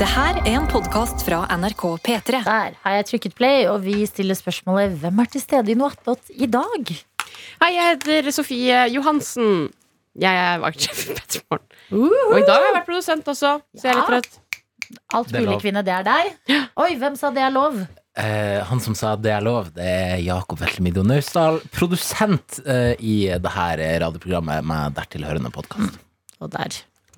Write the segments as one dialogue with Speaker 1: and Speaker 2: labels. Speaker 1: Det her er en podkast fra NRK P3.
Speaker 2: Der har jeg trykket play, og vi stiller spørsmålet Hvem er til stede i noe attåt i dag?
Speaker 3: Hei, jeg heter Sofie Johansen. Jeg er vaktsjef i Petter Morgen. Og i dag har jeg vært produsent også, så jeg er litt
Speaker 2: Ja.
Speaker 3: trøtt.
Speaker 2: Alt
Speaker 4: Det er
Speaker 2: mulig
Speaker 4: lov.
Speaker 2: kvinne, det er deg. Oi, hvem sa det er lov?
Speaker 4: Eh, han som sa det er lov, det er Jakob Veltemido Naustdal, produsent eh, i det her radioprogrammet med dertilhørende podkast.
Speaker 2: Og der.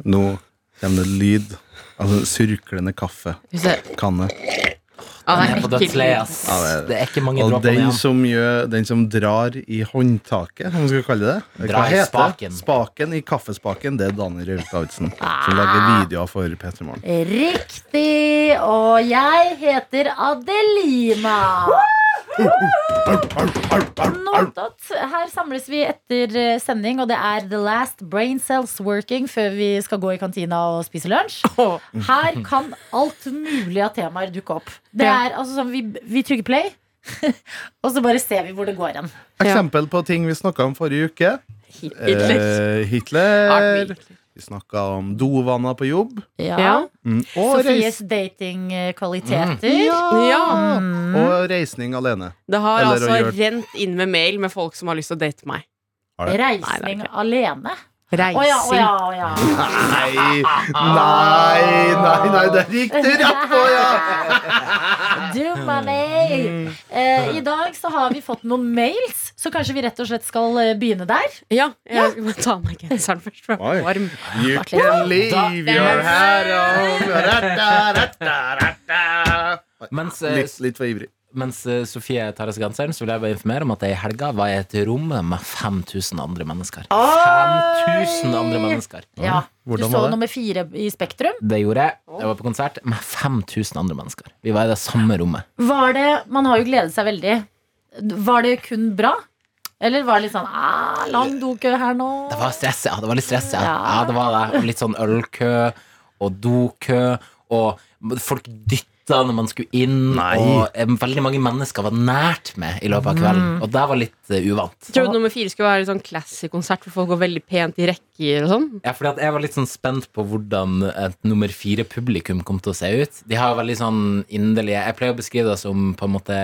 Speaker 5: Nå kommer det lyd Altså surklende kaffekanne.
Speaker 3: Hvis jeg- Å,
Speaker 4: Jeg er på
Speaker 3: det er
Speaker 4: dødsleiet,
Speaker 3: ekkelt.
Speaker 4: ass.
Speaker 5: Ja, det er-
Speaker 4: Det er ikke mange
Speaker 5: Og
Speaker 4: dråper
Speaker 5: den
Speaker 4: igjen.
Speaker 5: som, gjør, den som drar i håndtaket, som man skal kalle det
Speaker 4: Drar i
Speaker 5: heter
Speaker 4: spaken.
Speaker 5: Spaken i kaffespaken, det er Daniel Raukautsen. Som lager videoer for P3 Morgen.
Speaker 2: Riktig! Og jeg heter Adelina. Notat. Her samles vi etter eh, sending, og det er the last brain cells working før vi skal gå i kantina og spise lunsj. Her kan alt mulig av temaer dukke opp. Det
Speaker 3: Ja.
Speaker 2: er altså sånn, vi, vi trykker play, og så bare ser vi hvor det går hen.
Speaker 5: Eksempel på ting vi snakka om forrige uke.
Speaker 3: Hitler.
Speaker 5: Eh, Hitler.
Speaker 3: Artig.
Speaker 5: Vi snakka om dovaner på jobb.
Speaker 3: Ja.
Speaker 5: Mm. Og, reis,
Speaker 2: Sofies datingkvaliteter.
Speaker 3: ja.
Speaker 5: Mm. og reisning alene.
Speaker 3: Det har
Speaker 5: Eller å
Speaker 3: altså
Speaker 5: gjøre-
Speaker 3: rent inn med mail med folk som har lyst til å date meg.
Speaker 2: Reisning
Speaker 3: Nei, det
Speaker 2: alene. Å
Speaker 3: Reising.
Speaker 2: ja, å ja, å ja.
Speaker 5: Nei, nei, nei, nei det er riktig rett på, ja!
Speaker 2: Dumma meg! Eh, I dag så har vi fått noen mails, så kanskje vi rett og slett skal eh, begynne der.
Speaker 3: Ja, jeg skal bare ta av meg genseren først, for jeg er
Speaker 5: Oi.
Speaker 3: varm.
Speaker 5: You can leave your hair on
Speaker 4: Mens, eh,
Speaker 5: Litt, litt for ivrig.
Speaker 4: mens eh, Sofie tar av seg genseren, så vil jeg bare informere om at jeg i helga var i et rom med 5000 andre mennesker. 5000 andre mennesker.
Speaker 2: Ja, Du
Speaker 5: Hvordan
Speaker 2: så
Speaker 5: var det?
Speaker 2: nummer fire i Spektrum.
Speaker 4: Det gjorde jeg. Jeg var på konsert med 5000 andre mennesker. Vi var i det samme rommet.
Speaker 2: Var det, Man har jo gledet seg veldig. Var det kun bra? Eller var det litt sånn ah, lang dokø her nå?
Speaker 4: Det var stress, ja. Det var litt stress, ja.
Speaker 2: Ja.
Speaker 4: ja det var det. Og litt sånn ølkø og dokø, og folk dytta når man skulle inn.
Speaker 5: Nei.
Speaker 4: Og eh, veldig mange mennesker var nært med i løpet av kvelden, og det var litt eh, uvant.
Speaker 3: Jeg trodde nummer fire skulle være litt sånn classy konsert, hvor folk går veldig pent i rekker og sånn.
Speaker 4: Ja, fordi at jeg var litt sånn spent på hvordan et nummer fire-publikum kom til å se ut. De har jo veldig sånn inderlige Jeg pleier å beskrive det som på en måte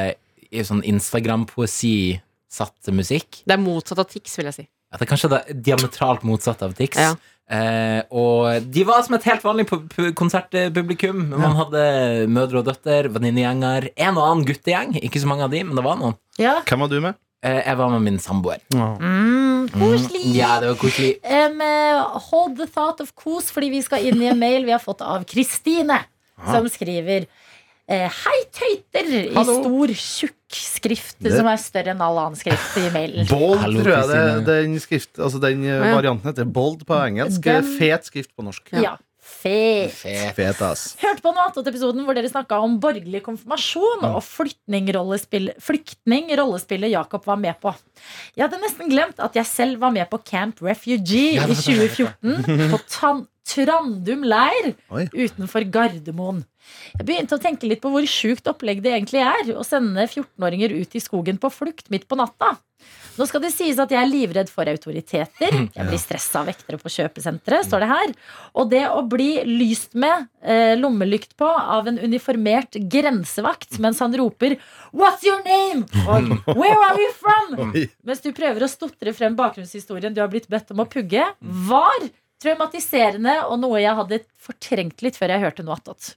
Speaker 4: i sånn Instagram-poesi satt til musikk.
Speaker 3: Det er motsatt av Tix, vil jeg si.
Speaker 4: At det er kanskje det diametralt motsatte av Tix.
Speaker 3: Ja.
Speaker 4: Eh, og de var som et helt vanlig pu- pu- konsertpublikum. Man hadde mødre og døtter, venninnegjenger, en og annen guttegjeng. Ikke så mange av de, men det var noen.
Speaker 2: Ja.
Speaker 5: Hvem var du med?
Speaker 4: Eh, jeg var med min samboer.
Speaker 2: Mm, koselig.
Speaker 4: Ja, det var koselig.
Speaker 2: Em, eh, hold the thought of kos, fordi vi skal inn i en mail vi har fått av Kristine, som skriver eh, Hei, tøyter! I
Speaker 5: Hallo.
Speaker 2: stor, tjukk skrift
Speaker 5: Det-
Speaker 2: som er større enn all annen skrift i mailen.
Speaker 5: Bold,
Speaker 4: Hallo,
Speaker 5: tror jeg det
Speaker 4: Kristine.
Speaker 5: den, skrift, altså den eh,
Speaker 3: ja.
Speaker 5: varianten heter. Bold på engelsk.
Speaker 2: Den-
Speaker 5: Fet skrift på norsk.
Speaker 2: Ja, fet.
Speaker 4: Fe-
Speaker 5: Fet, ass.
Speaker 2: Hørte på Noatot-episoden hvor dere snakka om borgerlig konfirmasjon og flyktningrollespill- flyktningrollespillet Jakob var med på. Jeg hadde nesten glemt at jeg selv var med på Camp Refugee
Speaker 4: Ja,
Speaker 2: i
Speaker 4: det fortalte jeg
Speaker 2: 2014 på Tan Trandum leir
Speaker 5: Oi.
Speaker 2: utenfor Gardermoen. Jeg begynte å tenke litt på hvor sjukt opplegg det egentlig er å sende 14-åringer ut i skogen på flukt midt på natta. Nå skal det sies at jeg er livredd for autoriteter. Jeg blir stressa av vektere på kjøpesenteret, står det her. Og det å bli lyst med eh, lommelykt på av en uniformert grensevakt mens han roper 'What's your name?' og 'Where are you
Speaker 5: Mm.
Speaker 2: from?' mens du prøver å stotre frem bakgrunnshistorien du har blitt bedt om å pugge, var traumatiserende og noe jeg hadde fortrengt litt før jeg hørte noe attåt.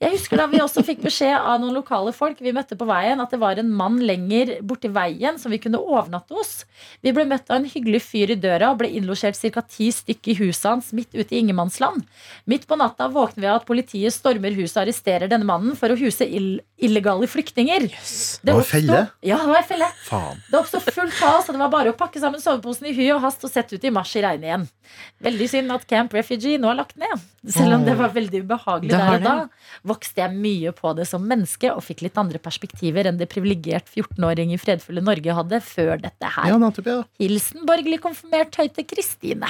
Speaker 2: Jeg husker da vi også fikk beskjed av noen lokale folk vi møtte på veien, at det var en mann lenger borti veien som vi kunne overnatte hos. Vi ble møtt av en hyggelig fyr i døra og ble innlosjert ca. ti stykk i huset hans midt ute i ingenmannsland. Midt på natta våkner vi av at politiet stormer huset og arresterer denne mannen for å huse ill illegale flyktninger.
Speaker 5: Det var
Speaker 2: oppsto-
Speaker 5: felle?
Speaker 2: Ja, det var en felle.
Speaker 5: Faen.
Speaker 2: Det oppsto fullt kaos, og det var bare å pakke sammen soveposen i hy og hast og sette ut i mars i regnet igjen. Veldig synd at Camp Refugee nå er lagt ned. Selv om det var veldig ubehagelig
Speaker 3: Det
Speaker 2: der
Speaker 3: har
Speaker 2: og da, vokste jeg mye på det som menneske og fikk litt andre perspektiver enn det privilegert 14-åring i fredfulle Norge hadde før dette her.
Speaker 5: Ja, nettopp, ja.
Speaker 2: Hilsen borgerlig konfirmert høyte Kristine.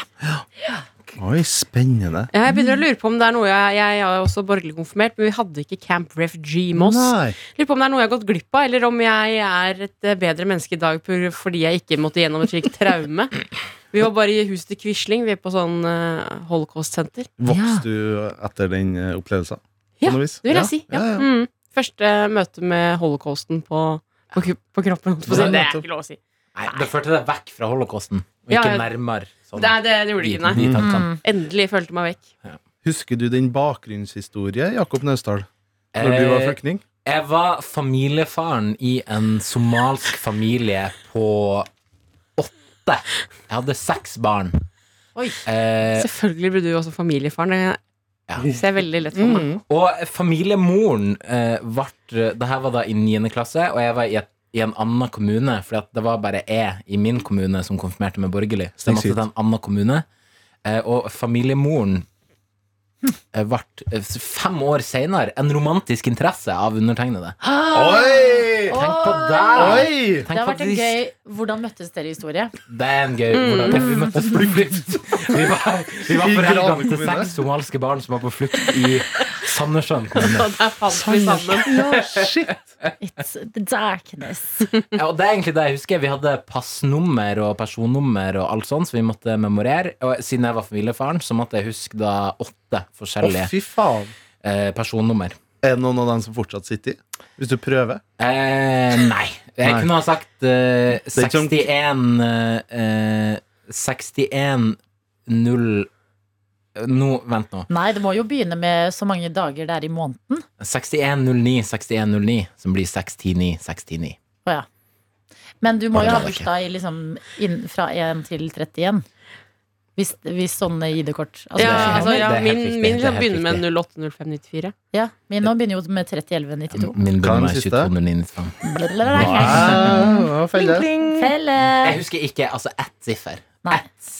Speaker 5: Oi, spennende.
Speaker 3: Ja, Jeg begynner å lure på om det er noe jeg, jeg er også borgerlig konfirmert, men vi hadde ikke Camp Refugee Moss.
Speaker 5: Nei.
Speaker 3: Lurer på om det er noe jeg har gått glipp av, eller om jeg er et eh, bedre menneske i dag på- fordi jeg ikke måtte gjennom et slikt traume. Vi var bare i huset til Quisling, vi er på sånn eh, holocaust-senter.
Speaker 5: Vokste du etter den eh, opplevelsen?
Speaker 3: Ja,
Speaker 5: på noe vis.
Speaker 3: Det vil jeg si. Ja.
Speaker 5: Ja, ja.
Speaker 3: Mm. Første møte med holocausten på, på, ku- på kroppen. holdt jeg på å si. Det
Speaker 5: Nei,
Speaker 3: er
Speaker 5: nettopp.
Speaker 3: ikke lov å si.
Speaker 4: Nei, det førte deg vekk fra holocausten, og
Speaker 3: Ja,
Speaker 4: ikke
Speaker 3: ja.
Speaker 4: nærmere sånn.
Speaker 3: Det, er- det, det gjorde
Speaker 4: de,
Speaker 3: det ikke, nei.
Speaker 4: de tankene.
Speaker 2: Mm.
Speaker 3: Endelig følte meg vekk.
Speaker 5: Husker du din bakgrunnshistorie, Jakob Naustdal? Når du var
Speaker 4: Eh,
Speaker 5: flyktning?
Speaker 4: Jeg var familiefaren i en somalsk familie på åtte. Jeg hadde seks barn.
Speaker 2: Oi.
Speaker 4: Eh,
Speaker 3: Selvfølgelig blir du også familiefaren. Det ser jeg veldig lett for meg.
Speaker 4: og familiemoren eh, ble Det her var da i 9. klasse, og jeg var i, et, i en annen kommune, for det var bare jeg i min kommune som konfirmerte meg borgerlig. Så jeg måtte til en annen kommune. Eh, og familiemoren eh, ble eh, fem år seinere en romantisk interesse av undertegnede.
Speaker 3: Ah.
Speaker 5: Oi!
Speaker 4: Tenk på det!
Speaker 5: Oi!
Speaker 4: Tenk
Speaker 2: Det har
Speaker 4: på
Speaker 2: vært en
Speaker 4: de-
Speaker 2: gøy Mm. Hvordan møttes dere i historie?
Speaker 4: Det er en gøy hvordan- Vi møttes på flukt. Vi var, vi var
Speaker 5: I Gran
Speaker 4: foreldrene til
Speaker 5: kommune.
Speaker 4: seks somaliske barn som var på flukt i Sandnessjøen kommune.
Speaker 3: Og der falt
Speaker 4: Sånn,
Speaker 3: vi sammen.
Speaker 5: Shit!
Speaker 2: It's the darkness.
Speaker 4: Ja, og det er egentlig det jeg husker. Vi hadde passnummer og personnummer og alt sånt, så vi måtte memorere. Og siden jeg var familiefaren, så måtte jeg huske da åtte
Speaker 5: Å,
Speaker 4: forskjellige
Speaker 5: fy faen.
Speaker 4: eh, personnummer.
Speaker 5: Er det noen av dem som fortsatt sitter i? Hvis du prøver?
Speaker 4: Eh, nei. Jeg
Speaker 5: Nei.
Speaker 4: kunne ha sagt eh,
Speaker 5: er ikke sånn-
Speaker 4: 61 eh, eh, 61 0 Nå, eh, vent nå.
Speaker 2: Nei, det må jo begynne med så mange dager det er i måneden.
Speaker 4: 6109, 6109, som blir 610, 610.
Speaker 2: Å ja. Men du må jo ha
Speaker 4: Nei, det er ikke.
Speaker 2: bursdag i liksom inn, fra 1 til 31. Hvis, hvis sånne ID-kort altså,
Speaker 3: Ja,
Speaker 4: helt-
Speaker 3: altså, ja,
Speaker 4: det er helt
Speaker 3: min
Speaker 4: riktig,
Speaker 3: min
Speaker 4: det er helt
Speaker 3: begynner med
Speaker 4: riktig.
Speaker 3: 080594.
Speaker 2: ja, Min nå begynner jo med 301192.
Speaker 4: Min
Speaker 5: Hva er den
Speaker 4: bunn er
Speaker 5: siste?
Speaker 4: 2295.
Speaker 5: Ah, hva feil det er.
Speaker 2: Felle!
Speaker 4: Jeg husker ikke altså ett siffer.
Speaker 2: Nei.
Speaker 4: Ett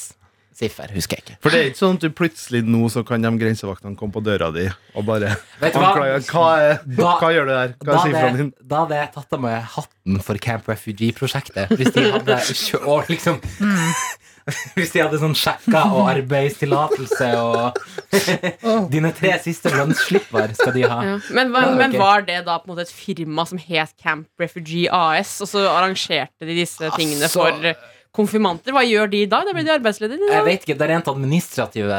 Speaker 4: siffer husker jeg ikke.
Speaker 5: For det er ikke sånn at du plutselig nå så kan de grensevaktene komme på døra di og bare
Speaker 4: Vet du hva?
Speaker 5: anklage hva, er,
Speaker 4: Da-
Speaker 5: hva gjør du der? Hva
Speaker 4: Da
Speaker 5: er sifraen
Speaker 4: hadde,
Speaker 5: din?
Speaker 4: da hadde jeg tatt av meg hatten for Camp Refugee-prosjektet. Hvis de hadde kjø- og liksom
Speaker 3: Mm.
Speaker 4: Hvis de hadde sånn sjekka og arbeidstillatelse og Dine tre siste lønnsslipper skal de ha.
Speaker 3: Ja. Men, hva-
Speaker 4: Ja, ok.
Speaker 3: men var det da på en måte et firma som het Camp Refugee AS, og så arrangerte de disse tingene
Speaker 4: Altså-
Speaker 3: for eh, konfirmanter? Hva gjør de i dag? Da blir de arbeidsledige. de da.
Speaker 4: Jeg vet ikke, Det rent administrative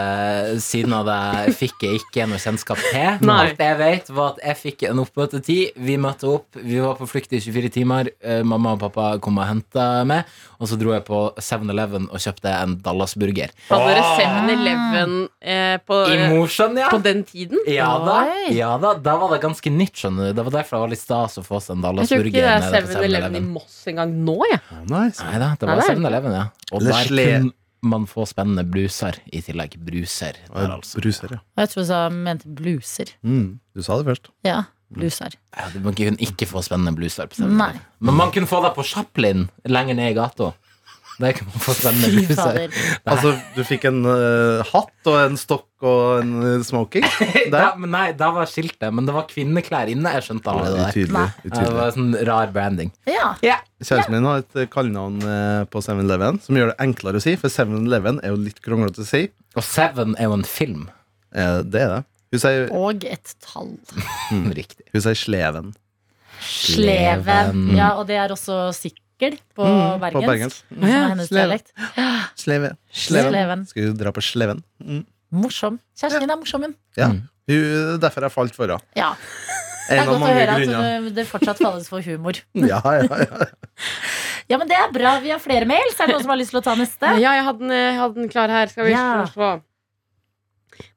Speaker 4: siden av det fikk jeg ikke noe kjennskap til. Men
Speaker 3: Nei.
Speaker 4: alt jeg vet, var at jeg fikk en oppmøtetid. Vi møtte opp, vi var på flukt i 24 timer. Eh, Mamma og pappa kom og henta meg. Og så dro jeg på 7-Eleven og kjøpte en Dallas-burger.
Speaker 3: Hadde dere 7-Eleven eh, på,
Speaker 4: Ah.
Speaker 3: eh,
Speaker 4: I Mosjøen, ja!
Speaker 3: på den tiden?
Speaker 4: Ja da,
Speaker 2: Oi.
Speaker 4: ja da, da var det ganske nytt, skjønner du. Det var derfor det var litt stas å få seg en
Speaker 3: Jeg tror
Speaker 4: Dallas-burger.
Speaker 3: ikke det er
Speaker 4: nede på
Speaker 3: 7-Eleven i
Speaker 4: 7-Eleven.
Speaker 3: Moss engang nå, jeg.
Speaker 5: Ah, nice.
Speaker 4: Nei da, det
Speaker 3: Nei,
Speaker 4: var
Speaker 3: det er-
Speaker 4: 7-Eleven, ja. Og
Speaker 5: Det
Speaker 4: der
Speaker 5: sle-
Speaker 4: kunne man få spennende bruser i tillegg. Bruser. Der, altså.
Speaker 5: Bruser, ja.
Speaker 2: Og jeg tror hun mente bluser.
Speaker 5: Mm, du sa det først.
Speaker 2: Ja, bluser.
Speaker 4: Ja, du- Man kunne ikke få spennende bluser på
Speaker 2: Nei.
Speaker 4: 7-Eleven. Men man kunne få det på Chaplin, lenger ned i gata. Der kunne man få spennende
Speaker 2: Fy
Speaker 4: bluser.
Speaker 2: fader.
Speaker 5: Altså, du fikk en eh, hatt og en stokk og en eh, smoking. Der.
Speaker 4: Da, men nei, da var skiltet, men det var kvinneklær inne. Jeg skjønte alle det der.
Speaker 5: Utydelig.
Speaker 2: Nei.
Speaker 4: Ja, Det
Speaker 5: utydelig.
Speaker 4: var sånn rar branding.
Speaker 2: Ja.
Speaker 5: Kjæresten min har et eh, kallenavn eh, på 7-Eleven som gjør det enklere å si, for 7-Eleven er jo litt kronglete å si.
Speaker 4: Og Seven er jo en film.
Speaker 5: Eh, Det er det. Hun sier,
Speaker 2: Og et tall.
Speaker 5: Mm.
Speaker 4: Riktig.
Speaker 5: hun sier Sleven.
Speaker 2: Sleven. Ja, og det er også sikkel på
Speaker 5: Mm, på
Speaker 2: bergensk.
Speaker 5: bergensk.
Speaker 2: Som er hennes
Speaker 5: Sleven.
Speaker 2: dialekt.
Speaker 5: Sleve.
Speaker 2: Sleven.
Speaker 5: Skal vi dra på Sleven? Mm.
Speaker 2: Morsom. Kjæresten din er morsom, hun.
Speaker 5: Ja.
Speaker 4: Mm.
Speaker 5: Hun, derfor jeg falt for henne.
Speaker 2: Ja. Det
Speaker 5: En
Speaker 2: er
Speaker 5: av
Speaker 2: godt å
Speaker 5: mange
Speaker 2: høre
Speaker 5: grunner.
Speaker 2: at uh, det fortsatt falles for humor.
Speaker 5: Mm, Ja, ja, ja.
Speaker 2: Ja, men det er bra. Vi har flere mails. Er det noen som har lyst til å ta neste?
Speaker 3: Ja, jeg hadde den, eh, jeg hadde den klar her. Skal vi
Speaker 2: Ja.
Speaker 3: se.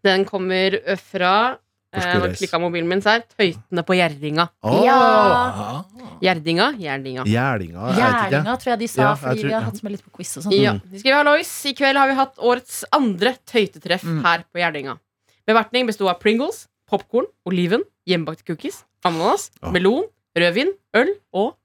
Speaker 3: Den kommer ø, fra
Speaker 5: Hvor
Speaker 3: eh,
Speaker 5: skal
Speaker 3: Nå
Speaker 5: jeg reise?
Speaker 3: klikka mobilen min, så her. Tøytene på Gjerdinga.
Speaker 5: Åh,
Speaker 2: Ja.
Speaker 4: Ah.
Speaker 3: Gjerdinga? Gjerdinga.
Speaker 5: Gjælinga. jeg vet ikke.
Speaker 2: Gjerninga, tror jeg de sa,
Speaker 5: Ja, jeg
Speaker 2: fordi
Speaker 5: tror-
Speaker 2: vi har hatt med litt på quiz og sånn.
Speaker 3: Ja. Vi skriver hallois. I kveld har vi hatt årets andre tøytetreff
Speaker 2: Mm.
Speaker 3: her på Gjerdinga. Bevertning besto av Pringles, popkorn, oliven, hjemmebakte cookies, ananas,
Speaker 5: Åh.
Speaker 3: melon, rødvin, øl og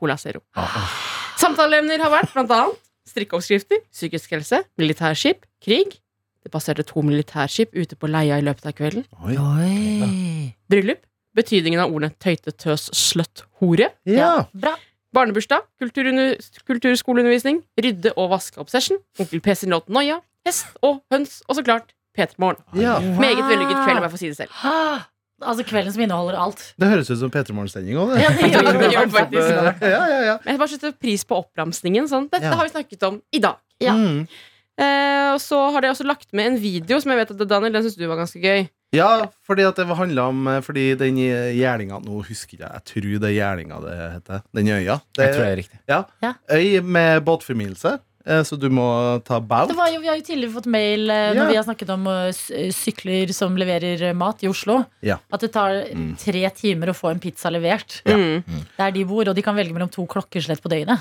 Speaker 3: Cola Zero.
Speaker 5: Åh, åh.
Speaker 3: Samtaleemner har vært blant annet strikkeoppskrifter, psykisk helse, militærskip, krig. Det passerte to militærskip ute på leia i løpet av kvelden.
Speaker 5: Oi.
Speaker 2: Oi.
Speaker 3: Bryllup. Betydningen av ordene tøyte, tøs, sløtt, hore.
Speaker 5: Ja.
Speaker 2: Bra.
Speaker 3: Barnebursdag. Kulturunu- Kulturskoleundervisning. Rydde- og vaskeobsession. Onkel P sin låt Noia. Hest og høns. Og så klart P3 Morgen.
Speaker 5: ja.
Speaker 3: Meget vellykket kveld, om jeg får si det selv.
Speaker 2: Ah, altså kvelden som inneholder alt.
Speaker 5: Det høres ut som P3 Morgen-sending òg,
Speaker 2: Ja,
Speaker 5: det.
Speaker 2: det gjør
Speaker 3: Det
Speaker 2: det.
Speaker 3: gjør det faktisk.
Speaker 5: Ja, ja, ja.
Speaker 3: Men jeg bare setter pris på oppramsingen. Sånn. Dette
Speaker 5: Ja.
Speaker 3: har vi snakket om i dag.
Speaker 2: Ja.
Speaker 5: Mm.
Speaker 3: Eh, og så har de også lagt med en video som jeg vet at Daniel, den synes du var ganske gøy.
Speaker 5: Ja, fordi at det handla om eh, Fordi den gjerninga Nå husker jeg, jeg tror det er gjerninga det heter. Den øya. Det
Speaker 4: Jeg tror det er riktig.
Speaker 5: er øy med båtformilelse, eh, så du må ta
Speaker 2: Det
Speaker 5: bout.
Speaker 2: var jo, vi har jo tidligere fått mail eh, når
Speaker 5: Ja.
Speaker 2: vi har snakket om eh, s- eh, sykler som leverer eh, mat i Oslo.
Speaker 5: Ja.
Speaker 2: At det tar
Speaker 5: Mm.
Speaker 2: tre timer å få en pizza levert
Speaker 3: Mm.
Speaker 2: der de bor. Og de kan velge mellom to klokkeslett på døgnet.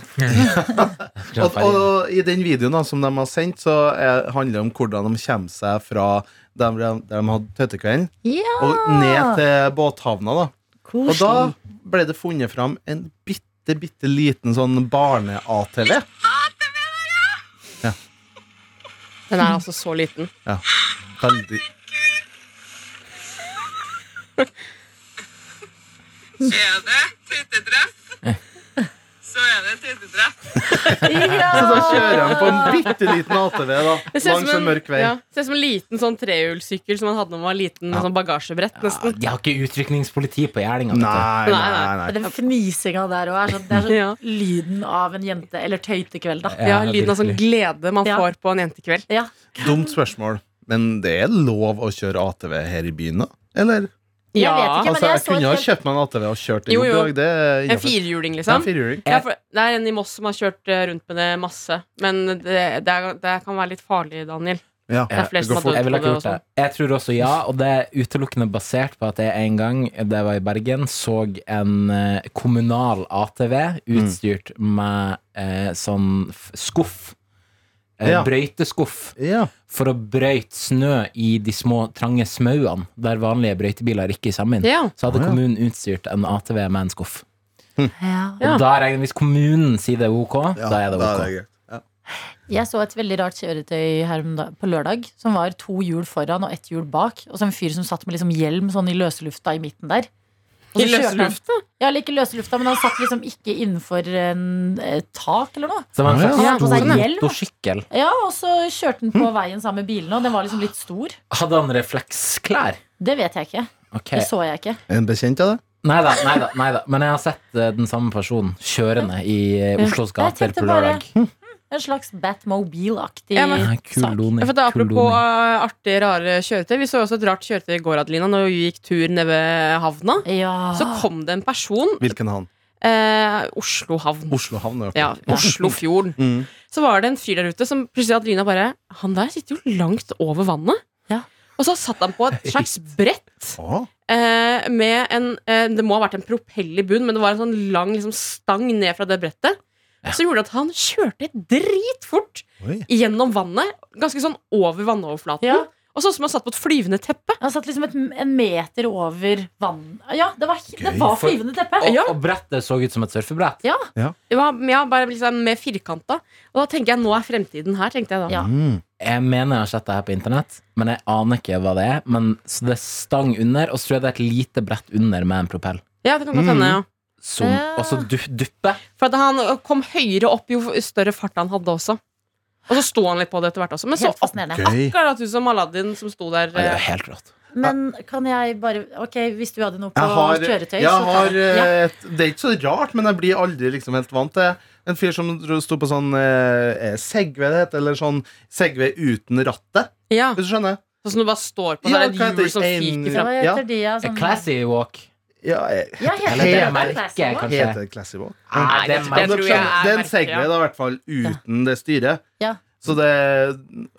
Speaker 5: Og, og i den videoen da, som de har sendt, så er, handler det om hvordan de kommer seg fra der de, der de hadde tøttekvelden,
Speaker 2: Ja,
Speaker 5: og ned til båthavna. da Og da
Speaker 2: koselig.
Speaker 5: ble det funnet fram en bitte, bitte liten sånn barne-ATV.
Speaker 3: Den er altså så liten.
Speaker 5: Ja, veldig
Speaker 6: Kjede, tittedress. Så er det tittedress.
Speaker 5: Så da kjører han på en bitte liten ATV da langs en mørk vei.
Speaker 3: ja, det ser ut som en liten sånn trehjulssykkel som man hadde da man var liten, med
Speaker 4: Ja.
Speaker 3: sånn bagasjebrett,
Speaker 4: Ja,
Speaker 3: nesten.
Speaker 4: de har ikke utrykningspoliti på Gjerdinga. vet du.
Speaker 5: Nei, nei,
Speaker 3: Nei,
Speaker 5: nei.
Speaker 2: Den fnisinga der òg er sånn. Det er sånn
Speaker 3: Ja.
Speaker 2: lyden av en jente. Eller tøytekveld, da.
Speaker 3: Ja, lyden av sånn
Speaker 4: virkelig.
Speaker 3: glede man
Speaker 2: Ja.
Speaker 3: får på en jentekveld.
Speaker 2: Ja.
Speaker 5: Dumt spørsmål, men det er lov å kjøre ATV her i byen, da? Eller?
Speaker 2: Jeg vet ikke, men
Speaker 5: Altså,
Speaker 2: jeg
Speaker 5: jeg
Speaker 2: så
Speaker 5: kunne
Speaker 2: et
Speaker 5: ha
Speaker 2: helt-
Speaker 5: kjøpt meg en ATV og kjørt til
Speaker 3: Jo, jo.
Speaker 5: jobb i dag. Det er
Speaker 3: En
Speaker 5: innenfor.
Speaker 3: firehjuling,
Speaker 5: Ja,
Speaker 3: liksom.
Speaker 5: en firehjuling.
Speaker 3: Ja, for det er en i Moss som har kjørt eh, rundt med det masse. Men det, det, er, det kan være litt farlig, Daniel.
Speaker 5: Ja.
Speaker 3: Det er flere som har
Speaker 5: går
Speaker 3: dødd
Speaker 4: Jeg ville
Speaker 3: på det sånn.
Speaker 4: ikke gjort
Speaker 3: også.
Speaker 4: det. Jeg tror også ja, og det er utelukkende basert på at jeg en gang, det var i Bergen, så en eh, kommunal ATV
Speaker 5: Mm.
Speaker 4: utstyrt med eh, sånn f- skuff. Eh,
Speaker 5: Ja.
Speaker 4: Brøyteskuff
Speaker 5: Ja.
Speaker 4: for å brøyte snø i de små, trange smauene der vanlige brøytebiler ikke kommer inn.
Speaker 3: Ja.
Speaker 4: Så hadde
Speaker 5: Å, ja.
Speaker 4: kommunen utstyrt en ATV med en skuff.
Speaker 2: Ja.
Speaker 3: Ja.
Speaker 4: Og da regner jeg hvis kommunen sier det er ok, da er det ok.
Speaker 5: greit. Ja.
Speaker 2: Jeg så et veldig rart kjøretøy her om da- på lørdag som var to hjul foran og ett hjul bak. Og så en fyr som satt med liksom hjelm sånn i løse lufta i midten der. Og
Speaker 3: I
Speaker 2: så kjørte
Speaker 3: løse
Speaker 2: han-
Speaker 3: lufta?
Speaker 2: Ja, eller ikke løse lufta, men han satt liksom ikke innenfor en eh, tak eller noe.
Speaker 4: Så det var
Speaker 5: Å, ja.
Speaker 4: en
Speaker 2: Han hadde på
Speaker 4: slags
Speaker 2: seg
Speaker 4: stor
Speaker 2: hjelm.
Speaker 4: motorsykkel.
Speaker 2: Ja, og så kjørte han på veien sammen med bilene, og den var liksom litt stor.
Speaker 4: Hadde han refleksklær?
Speaker 2: Det vet jeg ikke.
Speaker 4: Ok.
Speaker 2: Det så jeg ikke.
Speaker 5: En bekjent av det?
Speaker 4: Nei da, Men jeg har sett eh, den samme personen kjørende i eh, Oslos
Speaker 2: Ja, jeg
Speaker 4: gater
Speaker 2: tenkte
Speaker 4: på
Speaker 2: bare-
Speaker 4: lørdag.
Speaker 2: En slags Batmobile-aktig
Speaker 3: Ja, men-
Speaker 4: Nei,
Speaker 2: sak.
Speaker 4: Kuloni.
Speaker 3: Ja, for det er apropos
Speaker 4: kuloni.
Speaker 3: eh, artige, rare kjøretøy. Vi så jo også et rart kjøretøy i går, Adelina, når vi gikk tur nede ved havna.
Speaker 2: Ja.
Speaker 3: Så kom det en person.
Speaker 5: Hvilken havn?
Speaker 3: Eh, Oslo havn.
Speaker 5: Oslo havn.
Speaker 3: Ja, Oslofjorden.
Speaker 5: Mm.
Speaker 3: Så var det en fyr der ute som plutselig Adelina bare Han der sitter jo langt over vannet.
Speaker 2: Ja.
Speaker 3: Og så satt han på et slags brett.
Speaker 5: Å,
Speaker 3: eh, med en eh, Det må ha vært en propell i bunn, men det var en sånn lang liksom, stang ned fra det brettet. Så gjorde det at han kjørte dritfort
Speaker 5: oi.
Speaker 3: gjennom vannet. Ganske sånn over vannoverflaten.
Speaker 2: Ja.
Speaker 3: Og sånn som han satt på et flyvende teppe.
Speaker 2: Han satt liksom et, en meter over vann. Ja, det var, det
Speaker 5: Gøy,
Speaker 2: var
Speaker 4: for-
Speaker 2: flyvende teppe.
Speaker 4: Og,
Speaker 3: Ja.
Speaker 4: og brettet så ut som et surfebrett.
Speaker 3: Det var ja, bare liksom mer firkanta. Og da tenker jeg, nå er fremtiden her, tenkte jeg da.
Speaker 2: Ja.
Speaker 5: Mm.
Speaker 4: Jeg mener jeg har sett det her på internett, men jeg aner ikke hva det er. Men, så det er stang under, og så tror jeg det er et lite brett under med en propell.
Speaker 3: Ja, det kan godt
Speaker 5: Mm.
Speaker 3: hende, ja.
Speaker 4: Som
Speaker 2: Ja.
Speaker 4: også du, duppe.
Speaker 3: For at han eh, kom høyere opp jo større fart han hadde også. Og så sto han litt på det etter hvert også. Men så
Speaker 2: Helt fascinerende.
Speaker 5: Gøy.
Speaker 3: akkurat ut som Aladdin som sto der.
Speaker 4: Ja, Det er
Speaker 3: eh,
Speaker 4: jo helt rått.
Speaker 2: Men kan jeg bare Ok, hvis du hadde noe på
Speaker 5: Jeg har,
Speaker 2: kjøretøy
Speaker 5: jeg
Speaker 2: så tar
Speaker 5: har
Speaker 2: jeg- ja.
Speaker 5: eh, et, Det er ikke så rart, men jeg blir aldri liksom helt vant til en fyr som dro- sto på sånn eh, Segway, det heter, eller sånn Segway uten rattet.
Speaker 3: Ja,
Speaker 5: Hvis du skjønner?
Speaker 3: Sånn som du bare står på.
Speaker 5: Ja,
Speaker 3: Ja, det
Speaker 5: hva
Speaker 3: er
Speaker 5: heter
Speaker 3: et hjul som
Speaker 5: det? En-
Speaker 2: Ja,
Speaker 3: fyker fram.
Speaker 2: hva
Speaker 5: ja.
Speaker 2: heter de, ja,
Speaker 4: A
Speaker 2: sånn-
Speaker 4: classy walk.
Speaker 5: Ja, jeg,
Speaker 2: Ja, heter
Speaker 4: Eller
Speaker 2: de
Speaker 4: det
Speaker 2: det?
Speaker 4: merker jeg kanskje.
Speaker 5: heter det Classy Walk?
Speaker 4: Nei, Ah, det,
Speaker 3: Jeg tror jeg er
Speaker 5: det er en
Speaker 3: merkelig,
Speaker 5: Segway,
Speaker 3: ja.
Speaker 5: da, i hvert fall, uten det styret.
Speaker 2: Ja.
Speaker 5: Så det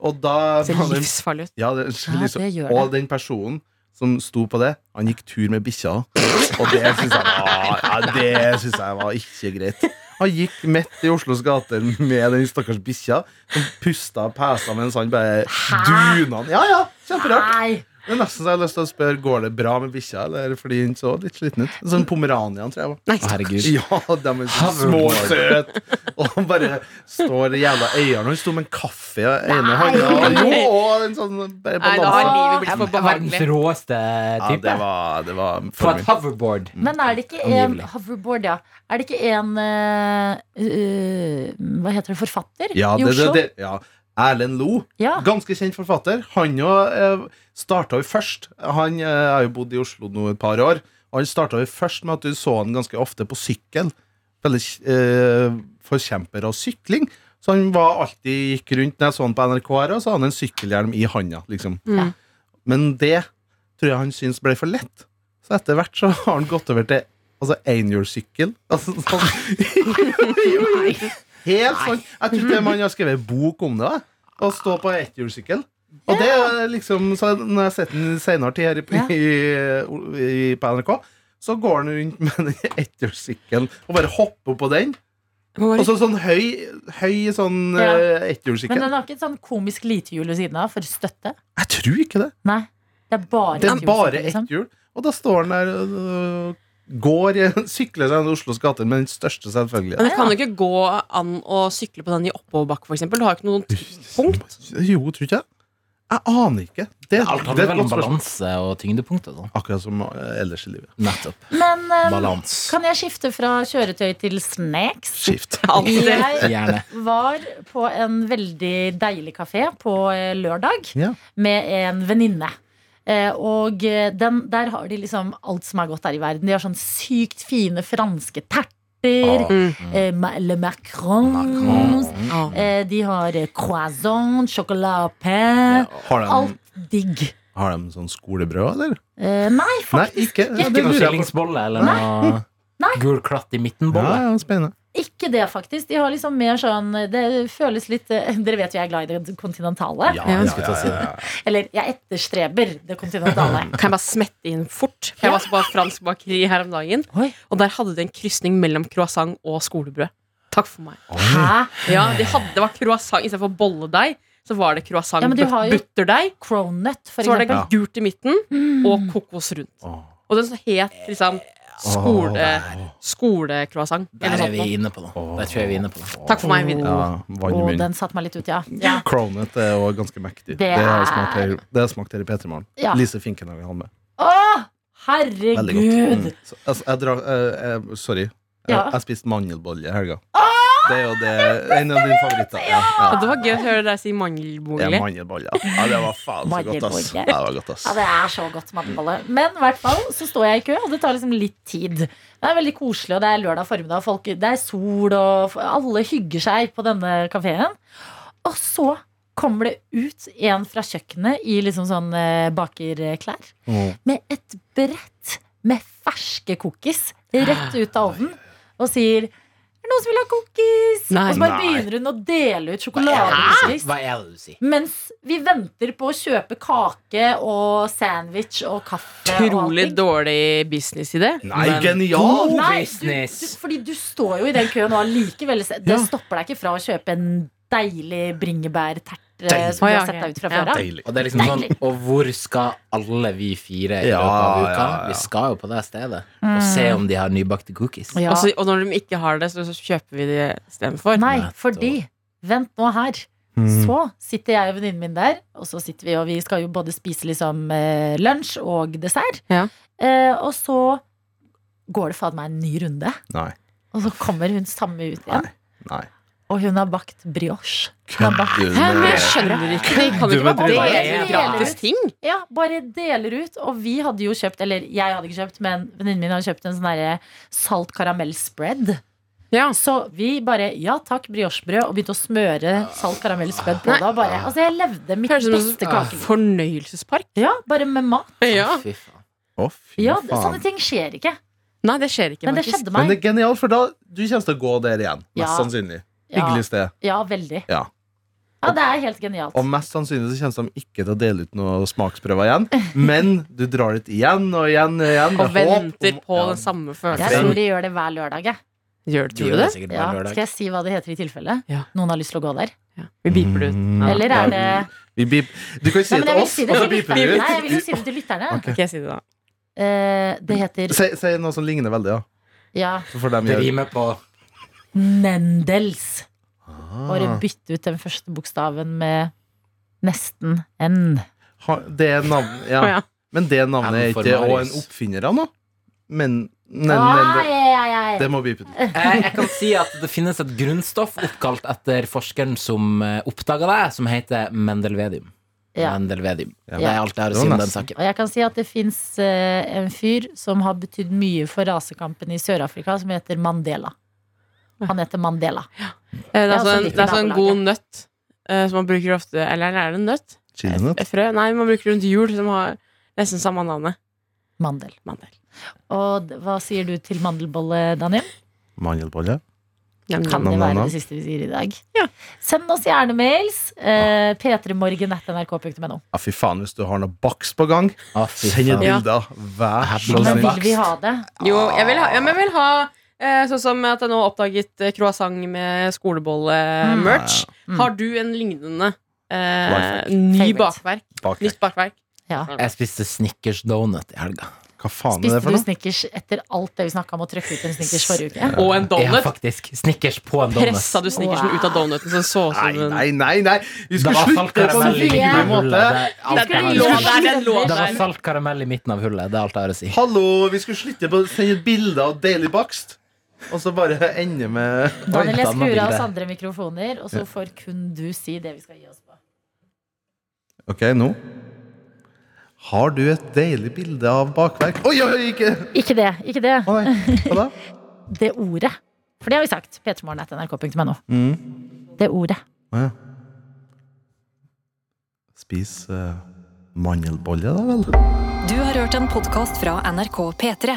Speaker 5: Og da
Speaker 3: Det ser livsfarlig ut.
Speaker 5: Ja, det, er
Speaker 2: Ja,
Speaker 5: liksom,
Speaker 2: det gjør
Speaker 5: Og den personen som sto på det, han gikk tur med bikkja. Og det syns jeg, var- ja, det synes jeg var ikke greit. Han gikk midt i Oslos gater med den stakkars bikkja, som pusta og pesa mens han bare duna den. Ja, ja, kjemperart.
Speaker 2: Nei!
Speaker 5: Det er nesten så jeg har lyst til å spørre Går det bra med bikkja, eller fordi hun så litt sliten ut. Sånn pomeranian, tror jeg. var
Speaker 3: Nei,
Speaker 4: Å, herregud.
Speaker 5: ja, de er så små
Speaker 4: Hoverboard.
Speaker 5: søt Og han bare står i jævla øynene Han sto med en kaffe i ene hånda og- Jo, og en sånn bare
Speaker 3: Nei, da har
Speaker 5: balanse
Speaker 3: livet blitt for
Speaker 4: Verdens
Speaker 3: behagelig.
Speaker 4: råeste
Speaker 5: ja,
Speaker 4: type.
Speaker 5: det var, det var
Speaker 4: På
Speaker 5: for
Speaker 4: et
Speaker 5: mye
Speaker 4: hoverboard.
Speaker 2: Men er det ikke en
Speaker 4: Mm. Angivelig.
Speaker 2: Hoverboard, ja. Er det ikke en eh, eh, Hva heter det? Forfatter?
Speaker 5: ja,
Speaker 2: I
Speaker 5: det,
Speaker 2: Oslo?
Speaker 5: det, det, ja. Erlend Lo,
Speaker 2: Ja.
Speaker 5: ganske kjent forfatter Han jo eh, startet jo først Han eh, har jo bodd i Oslo nå et par år Og han startet jo først med at du så han ganske ofte på sykkel Veldig eh, forkjemper av sykling Så han var alltid gikk rundt Når jeg så han på NRK her Og så hadde han en sykkelhjelm i handa liksom
Speaker 3: Mm.
Speaker 5: Men det tror jeg han syntes ble for lett. Så etter hvert så har han gått over til altså einhjulssykkel. Altså, sånn. Jo, jo, jo. Helt sånn. Jeg tror til og med han har skrevet bok om det. da. Å stå på etthjulssykkel. Og det er liksom, så Når jeg har sett den senere til her i,
Speaker 2: Ja.
Speaker 5: i, i, på NRK, så går han rundt med den etthjulssykkelen og bare hopper på den. Og så sånn høy, høy sånn
Speaker 2: Ja.
Speaker 5: eh,
Speaker 2: Men
Speaker 5: etthjulssykkel.
Speaker 2: den har ikke et sånn komisk litehjul ved siden av for støtte?
Speaker 5: Jeg tror ikke det.
Speaker 2: Nei. Det er bare
Speaker 5: Det er
Speaker 2: et hjul,
Speaker 5: bare
Speaker 2: liksom.
Speaker 5: ett hjul. Og da står han der og øh, går, sykler seg gjennom Oslos gater med den største, selvfølgelig.
Speaker 3: Men det kan jo ikke gå an å sykle på den i oppoverbakke, f.eks. Du har jo ikke noen punkt.
Speaker 5: Jo, tror ikke jeg. Jeg aner ikke. Det,
Speaker 4: Alt
Speaker 5: det
Speaker 4: handler
Speaker 5: er et
Speaker 4: vel om
Speaker 5: godt spørsmål.
Speaker 4: balanse og tyngdepunkt og sånn.
Speaker 5: Akkurat som øh, ellers i livet.
Speaker 4: Nettopp.
Speaker 2: Men eh,
Speaker 4: Balans.
Speaker 2: kan jeg skifte fra kjøretøy til snacks?
Speaker 5: Skift.
Speaker 3: Alltid.
Speaker 2: Jeg
Speaker 4: Gjerne.
Speaker 2: var på en veldig deilig kafé på eh, lørdag
Speaker 5: Ja.
Speaker 2: med en venninne. Eh, Og eh, den, der har de liksom alt som er godt her i verden. De har sånn sykt fine franske terter.
Speaker 5: Ah,
Speaker 2: eh, ma- Le Macron.
Speaker 4: Mm.
Speaker 3: Ja.
Speaker 2: De har eh, croissant, chocolat au pain.
Speaker 5: Har de,
Speaker 2: Alt digg.
Speaker 5: har de sånn skolebrød, eller?
Speaker 2: Eh, Nei,
Speaker 5: Nei,
Speaker 2: faktisk
Speaker 5: ikke. Ja,
Speaker 4: Ikke noe
Speaker 5: det lurer jeg på.
Speaker 4: skillingsbolle eller noe
Speaker 2: Nei.
Speaker 4: gul klatt i midten-bolle.
Speaker 5: Ja, ja, spennende.
Speaker 2: ikke det, faktisk. De har liksom mer sånn Det føles litt eh, Dere vet jo jeg er glad i det kontinentale.
Speaker 5: Ja,
Speaker 3: Ja.
Speaker 5: jeg skulle til å si det.
Speaker 2: Eller jeg etterstreber det kontinentale.
Speaker 3: Kan jeg bare smette inn fort? For jeg var så på fransk bakeri her om dagen,
Speaker 2: Oi.
Speaker 3: og der hadde de en krysning mellom croissant og skolebrød. Takk for meg.
Speaker 2: Hæ?
Speaker 3: Ja, de hadde, Det var croissant istedenfor bolledeig. Så var det croissant
Speaker 2: Ja, men du
Speaker 3: but-
Speaker 2: har jo-
Speaker 3: butterdeig.
Speaker 2: Cronut, for
Speaker 3: Så var det
Speaker 2: eksempel. Mm.
Speaker 3: gult i midten og kokos rundt.
Speaker 5: Åh.
Speaker 3: Og den så het liksom skole, skolecroissant. Eller
Speaker 4: Der
Speaker 3: noe
Speaker 4: er
Speaker 3: sånt
Speaker 4: vi
Speaker 3: noe.
Speaker 4: inne på noe. Der tror jeg vi er inne på noe.
Speaker 3: Takk for meg, Vidar.
Speaker 5: Ja, vann i
Speaker 2: Og
Speaker 5: munnen.
Speaker 2: den satte meg litt ut, ja.
Speaker 3: Mm.
Speaker 2: ja.
Speaker 5: Cronet er også ganske mektig.
Speaker 2: Det
Speaker 5: Det har smakt
Speaker 2: er-
Speaker 5: her, det har smakt her i Petermorgen.
Speaker 2: Ja.
Speaker 5: Lise Finkenhagen hadde med.
Speaker 2: Å,
Speaker 5: Veldig godt.
Speaker 2: herregud!
Speaker 5: Mm. Så, altså, jeg drar, eh, eh, sorry. Jeg,
Speaker 2: Ja.
Speaker 5: jeg spiste mandelbolle i helga. Det er jo det, en av dine favoritter. Ja,
Speaker 3: Og det
Speaker 5: ja.
Speaker 3: var gøy å høre deg si
Speaker 5: Det er
Speaker 3: mangelbolig.
Speaker 5: mandelbolle. Ja, det var faen så godt, ass.
Speaker 2: Mandelbolle.
Speaker 5: Ja, Det var godt, ass.
Speaker 2: Ja, det er så godt matbolle. Men i hvert fall så står jeg i kø, og det tar liksom litt tid. Det er veldig koselig, og det er lørdag formiddag, og folk, det er sol, og f- alle hygger seg på denne kafeen. Og så kommer det ut en fra kjøkkenet i liksom sånn eh, bakerklær
Speaker 5: Mm.
Speaker 2: med et brett med ferske cookies rett ut av ovnen og sier er det noen som vil ha cookies?
Speaker 3: Nei.
Speaker 2: og så bare
Speaker 5: Nei.
Speaker 2: begynner hun å dele ut sjokoladeis.
Speaker 4: Hva er det du sier?
Speaker 2: Mens vi venter på å kjøpe kake og sandwich og kaffe. og
Speaker 3: Utrolig
Speaker 2: allting.
Speaker 3: dårlig businessidé.
Speaker 5: Nei,
Speaker 4: Men-
Speaker 5: genial!
Speaker 2: Nei, du,
Speaker 4: business.
Speaker 2: du, fordi du står jo i den køen og allikevel se- Det
Speaker 5: Ja.
Speaker 2: stopper deg ikke fra å kjøpe en deilig bringebærtert eh,
Speaker 5: Deilig.
Speaker 2: som du
Speaker 3: Å,
Speaker 2: har
Speaker 3: ja,
Speaker 2: sett deg ut fra
Speaker 3: ja.
Speaker 2: før av.
Speaker 5: Deilig.
Speaker 4: Og det er liksom sånn,
Speaker 2: Deilig.
Speaker 4: og hvor skal alle vi fire i
Speaker 5: Ja,
Speaker 4: løpet av uka?
Speaker 5: ja, ja.
Speaker 4: Vi skal jo på det stedet og se
Speaker 2: Mm.
Speaker 4: om de har nybakte cookies.
Speaker 2: Ja.
Speaker 3: Og, så, og når de ikke har det, så, så kjøper vi det istedenfor.
Speaker 2: Nei,
Speaker 4: Nettopp.
Speaker 2: fordi Vent nå her.
Speaker 3: Mhm.
Speaker 5: Mm.
Speaker 2: Så sitter jeg og venninnen min der, og så sitter vi og vi skal jo både spise liksom eh, lunsj og dessert.
Speaker 3: Ja.
Speaker 2: Eh, og så går det faen meg en ny runde,
Speaker 5: Nei.
Speaker 2: og så kommer hun samme ut igjen.
Speaker 5: Nei.
Speaker 2: Og hun har bakt brioche. Hun har bakt,
Speaker 5: Du,
Speaker 3: Hæ, men jeg
Speaker 5: det-
Speaker 3: skjønner ikke. Det kan jo
Speaker 5: Du
Speaker 3: ikke
Speaker 5: må
Speaker 3: være det
Speaker 5: drive
Speaker 2: deg.
Speaker 3: er gratis ting.
Speaker 2: ja, bare deler ut. Og vi hadde jo kjøpt, eller jeg hadde ikke kjøpt, men venninnen min hadde kjøpt en sånn derre salt karamellspread.
Speaker 3: Ja.
Speaker 2: Så vi bare ja takk, briochebrød, og begynte å smøre salt karamellspread på det. Og bare, altså, jeg levde mitt
Speaker 3: Høres ut
Speaker 2: beste
Speaker 3: som en sånn
Speaker 2: kakeliv.
Speaker 3: fornøyelsespark.
Speaker 2: Ja, bare med mat.
Speaker 3: Ja.
Speaker 4: Fy faen.
Speaker 5: Å, fy
Speaker 2: Ja,
Speaker 5: faen.
Speaker 2: sånne ting skjer ikke.
Speaker 3: Nei, det skjer ikke,
Speaker 2: Men det
Speaker 3: faktisk.
Speaker 2: skjedde
Speaker 5: Men
Speaker 2: meg.
Speaker 5: det er genialt, for da du kommer til å gå der igjen. Mest
Speaker 2: Ja.
Speaker 5: sannsynlig.
Speaker 2: Ja,
Speaker 5: Hyggelig sted.
Speaker 2: ja veldig.
Speaker 5: Ja.
Speaker 2: Ja, det er helt genialt.
Speaker 5: Og mest sannsynlig så kommer de ikke til å dele ut noen smaksprøver igjen. Men du drar dit igjen og igjen og igjen.
Speaker 3: Og
Speaker 5: med håp om-
Speaker 3: venter på
Speaker 5: Ja.
Speaker 3: den samme
Speaker 2: Jeg
Speaker 3: følelsen.
Speaker 2: tror de gjør det hver lørdag. jeg.
Speaker 3: Gjør,
Speaker 4: De
Speaker 3: tror du
Speaker 4: gjør
Speaker 3: det?
Speaker 4: det sikkert
Speaker 2: Ja,
Speaker 4: hver lørdag.
Speaker 2: skal jeg si hva det heter i tilfelle?
Speaker 3: Ja.
Speaker 2: Noen har lyst til å gå der?
Speaker 3: Ja. Vi beeper det ut.
Speaker 5: Mm.
Speaker 2: Eller
Speaker 5: Ja.
Speaker 2: er det
Speaker 5: Vi bip- Du kan jo si
Speaker 2: Nei, men jeg
Speaker 5: det til
Speaker 2: vil
Speaker 5: oss,
Speaker 2: si det
Speaker 5: og så
Speaker 2: til
Speaker 5: biper vi
Speaker 2: lytterne.
Speaker 5: ut.
Speaker 2: Nei, jeg vil jo si det til lytterne.
Speaker 5: Ok.
Speaker 3: Skal jeg si det, da?
Speaker 2: Eh, Det heter
Speaker 5: Si, si noe som ligner veldig, ja.
Speaker 2: ja,
Speaker 5: Så får de
Speaker 4: Det
Speaker 5: gjøre
Speaker 4: rimer på
Speaker 2: Nendels. Bare
Speaker 5: ah.
Speaker 2: bytte ut den første bokstaven med nesten N.
Speaker 5: Ha- Det er navn,
Speaker 3: Å,
Speaker 5: ja.
Speaker 3: ja.
Speaker 5: Men det navnet er
Speaker 4: M for
Speaker 5: ikke Og en
Speaker 4: Marius.
Speaker 5: oppfinner av noe. Men, men,
Speaker 2: Ah,
Speaker 5: men det,
Speaker 2: ja, ja, ja.
Speaker 5: det må bipes ut.
Speaker 4: Eh, Jeg kan si at det finnes et grunnstoff oppkalt etter forskeren som oppdaga det, som heter Mendelvedium.
Speaker 2: Ja.
Speaker 4: Mendelvedium.
Speaker 5: Ja.
Speaker 4: Det er alt jeg har
Speaker 5: Det
Speaker 4: å
Speaker 5: var
Speaker 4: si om den
Speaker 5: nesten.
Speaker 4: saken.
Speaker 2: Og jeg kan si at det fins en fyr som har betydd mye for rasekampen i Sør-Afrika, som heter Mandela. Han heter Mandela.
Speaker 3: Eh, Det er
Speaker 2: Ja, så
Speaker 3: sånn,
Speaker 2: litt
Speaker 3: det er sånn
Speaker 2: nabolaget.
Speaker 3: god nøtt eh, som man bruker ofte Eller er det en nøtt?
Speaker 5: Chilinøtt.
Speaker 3: Et frø? Nei, man bruker rundt jul. Som har Nesten samme navnet.
Speaker 2: Mandel.
Speaker 3: Mandel.
Speaker 2: Og d- hva sier du til mandelbolle, Daniel? eh.
Speaker 5: Mandelbolle.
Speaker 2: Kan
Speaker 5: Nam,
Speaker 2: det
Speaker 5: nam,
Speaker 2: være
Speaker 5: nam.
Speaker 2: det siste vi sier i dag?
Speaker 3: Ja.
Speaker 2: Send oss gjerne mails. Eh, p3morgen.nrk.no.
Speaker 5: Ja, fy faen, hvis du har noe baks på gang,
Speaker 4: Å, fy
Speaker 5: send et
Speaker 4: faen.
Speaker 3: Ja.
Speaker 5: bilde. sånn Vær så
Speaker 4: Hvordan
Speaker 2: Men
Speaker 5: snill.
Speaker 2: vil vi ha det?
Speaker 3: Jo, jeg vil ha, ja, men jeg vil ha eh, sånn som at jeg nå har oppdaget eh, croissant med skolebolle-merch.
Speaker 2: Mm.
Speaker 3: Har du en lignende eh,
Speaker 5: Bakverk.
Speaker 3: ny
Speaker 2: Favorite.
Speaker 3: bakverk?
Speaker 5: Bak
Speaker 3: Nytt bakverk?
Speaker 2: Ja.
Speaker 4: Jeg spiste Snickers donut i helga.
Speaker 5: Hva faen er det
Speaker 2: Spiste
Speaker 5: for
Speaker 2: du
Speaker 5: noe?
Speaker 2: Snickers etter alt det vi snakka om å trykke ut en Snickers forrige uke?
Speaker 3: Og en
Speaker 4: Ja,
Speaker 3: donut?
Speaker 4: faktisk. Snickers på en donut.
Speaker 3: Pressa du snickersen ut av donuten så det så ut
Speaker 2: altså,
Speaker 5: Nei,
Speaker 3: som en
Speaker 5: nei, nei! nei Vi
Speaker 4: Det
Speaker 5: skal
Speaker 4: var
Speaker 5: slutte på en
Speaker 4: saltkaramell i
Speaker 5: hyggelig
Speaker 4: midten av
Speaker 5: måte.
Speaker 4: hullet. Det er
Speaker 3: Den
Speaker 4: alt jeg
Speaker 3: lå
Speaker 4: har å si.
Speaker 3: der, den lå
Speaker 4: Det var
Speaker 3: der.
Speaker 4: saltkaramell i midten av hullet. Det er alt jeg har å si.
Speaker 5: Hallo, vi skulle slutte på å sende et bilde av deilig bakst, og så bare ende med
Speaker 2: Daniel, jeg
Speaker 4: Oi,
Speaker 2: skrur av
Speaker 4: bildet.
Speaker 2: oss andre mikrofoner, og så får kun du si det vi skal gi oss på.
Speaker 5: Ok, nå. Har du et deilig bilde av bakverk? Oi, oi, oi, ikke
Speaker 2: Ikke det. ikke Det
Speaker 5: Å nei, hva da?
Speaker 2: Det ordet. For det har vi sagt. p3morgen.nrk.no.
Speaker 5: Mm.
Speaker 2: Det ordet.
Speaker 5: Å ja. Spis eh, mandelbolle, da vel.
Speaker 1: Du har hørt en podkast fra NRK P3.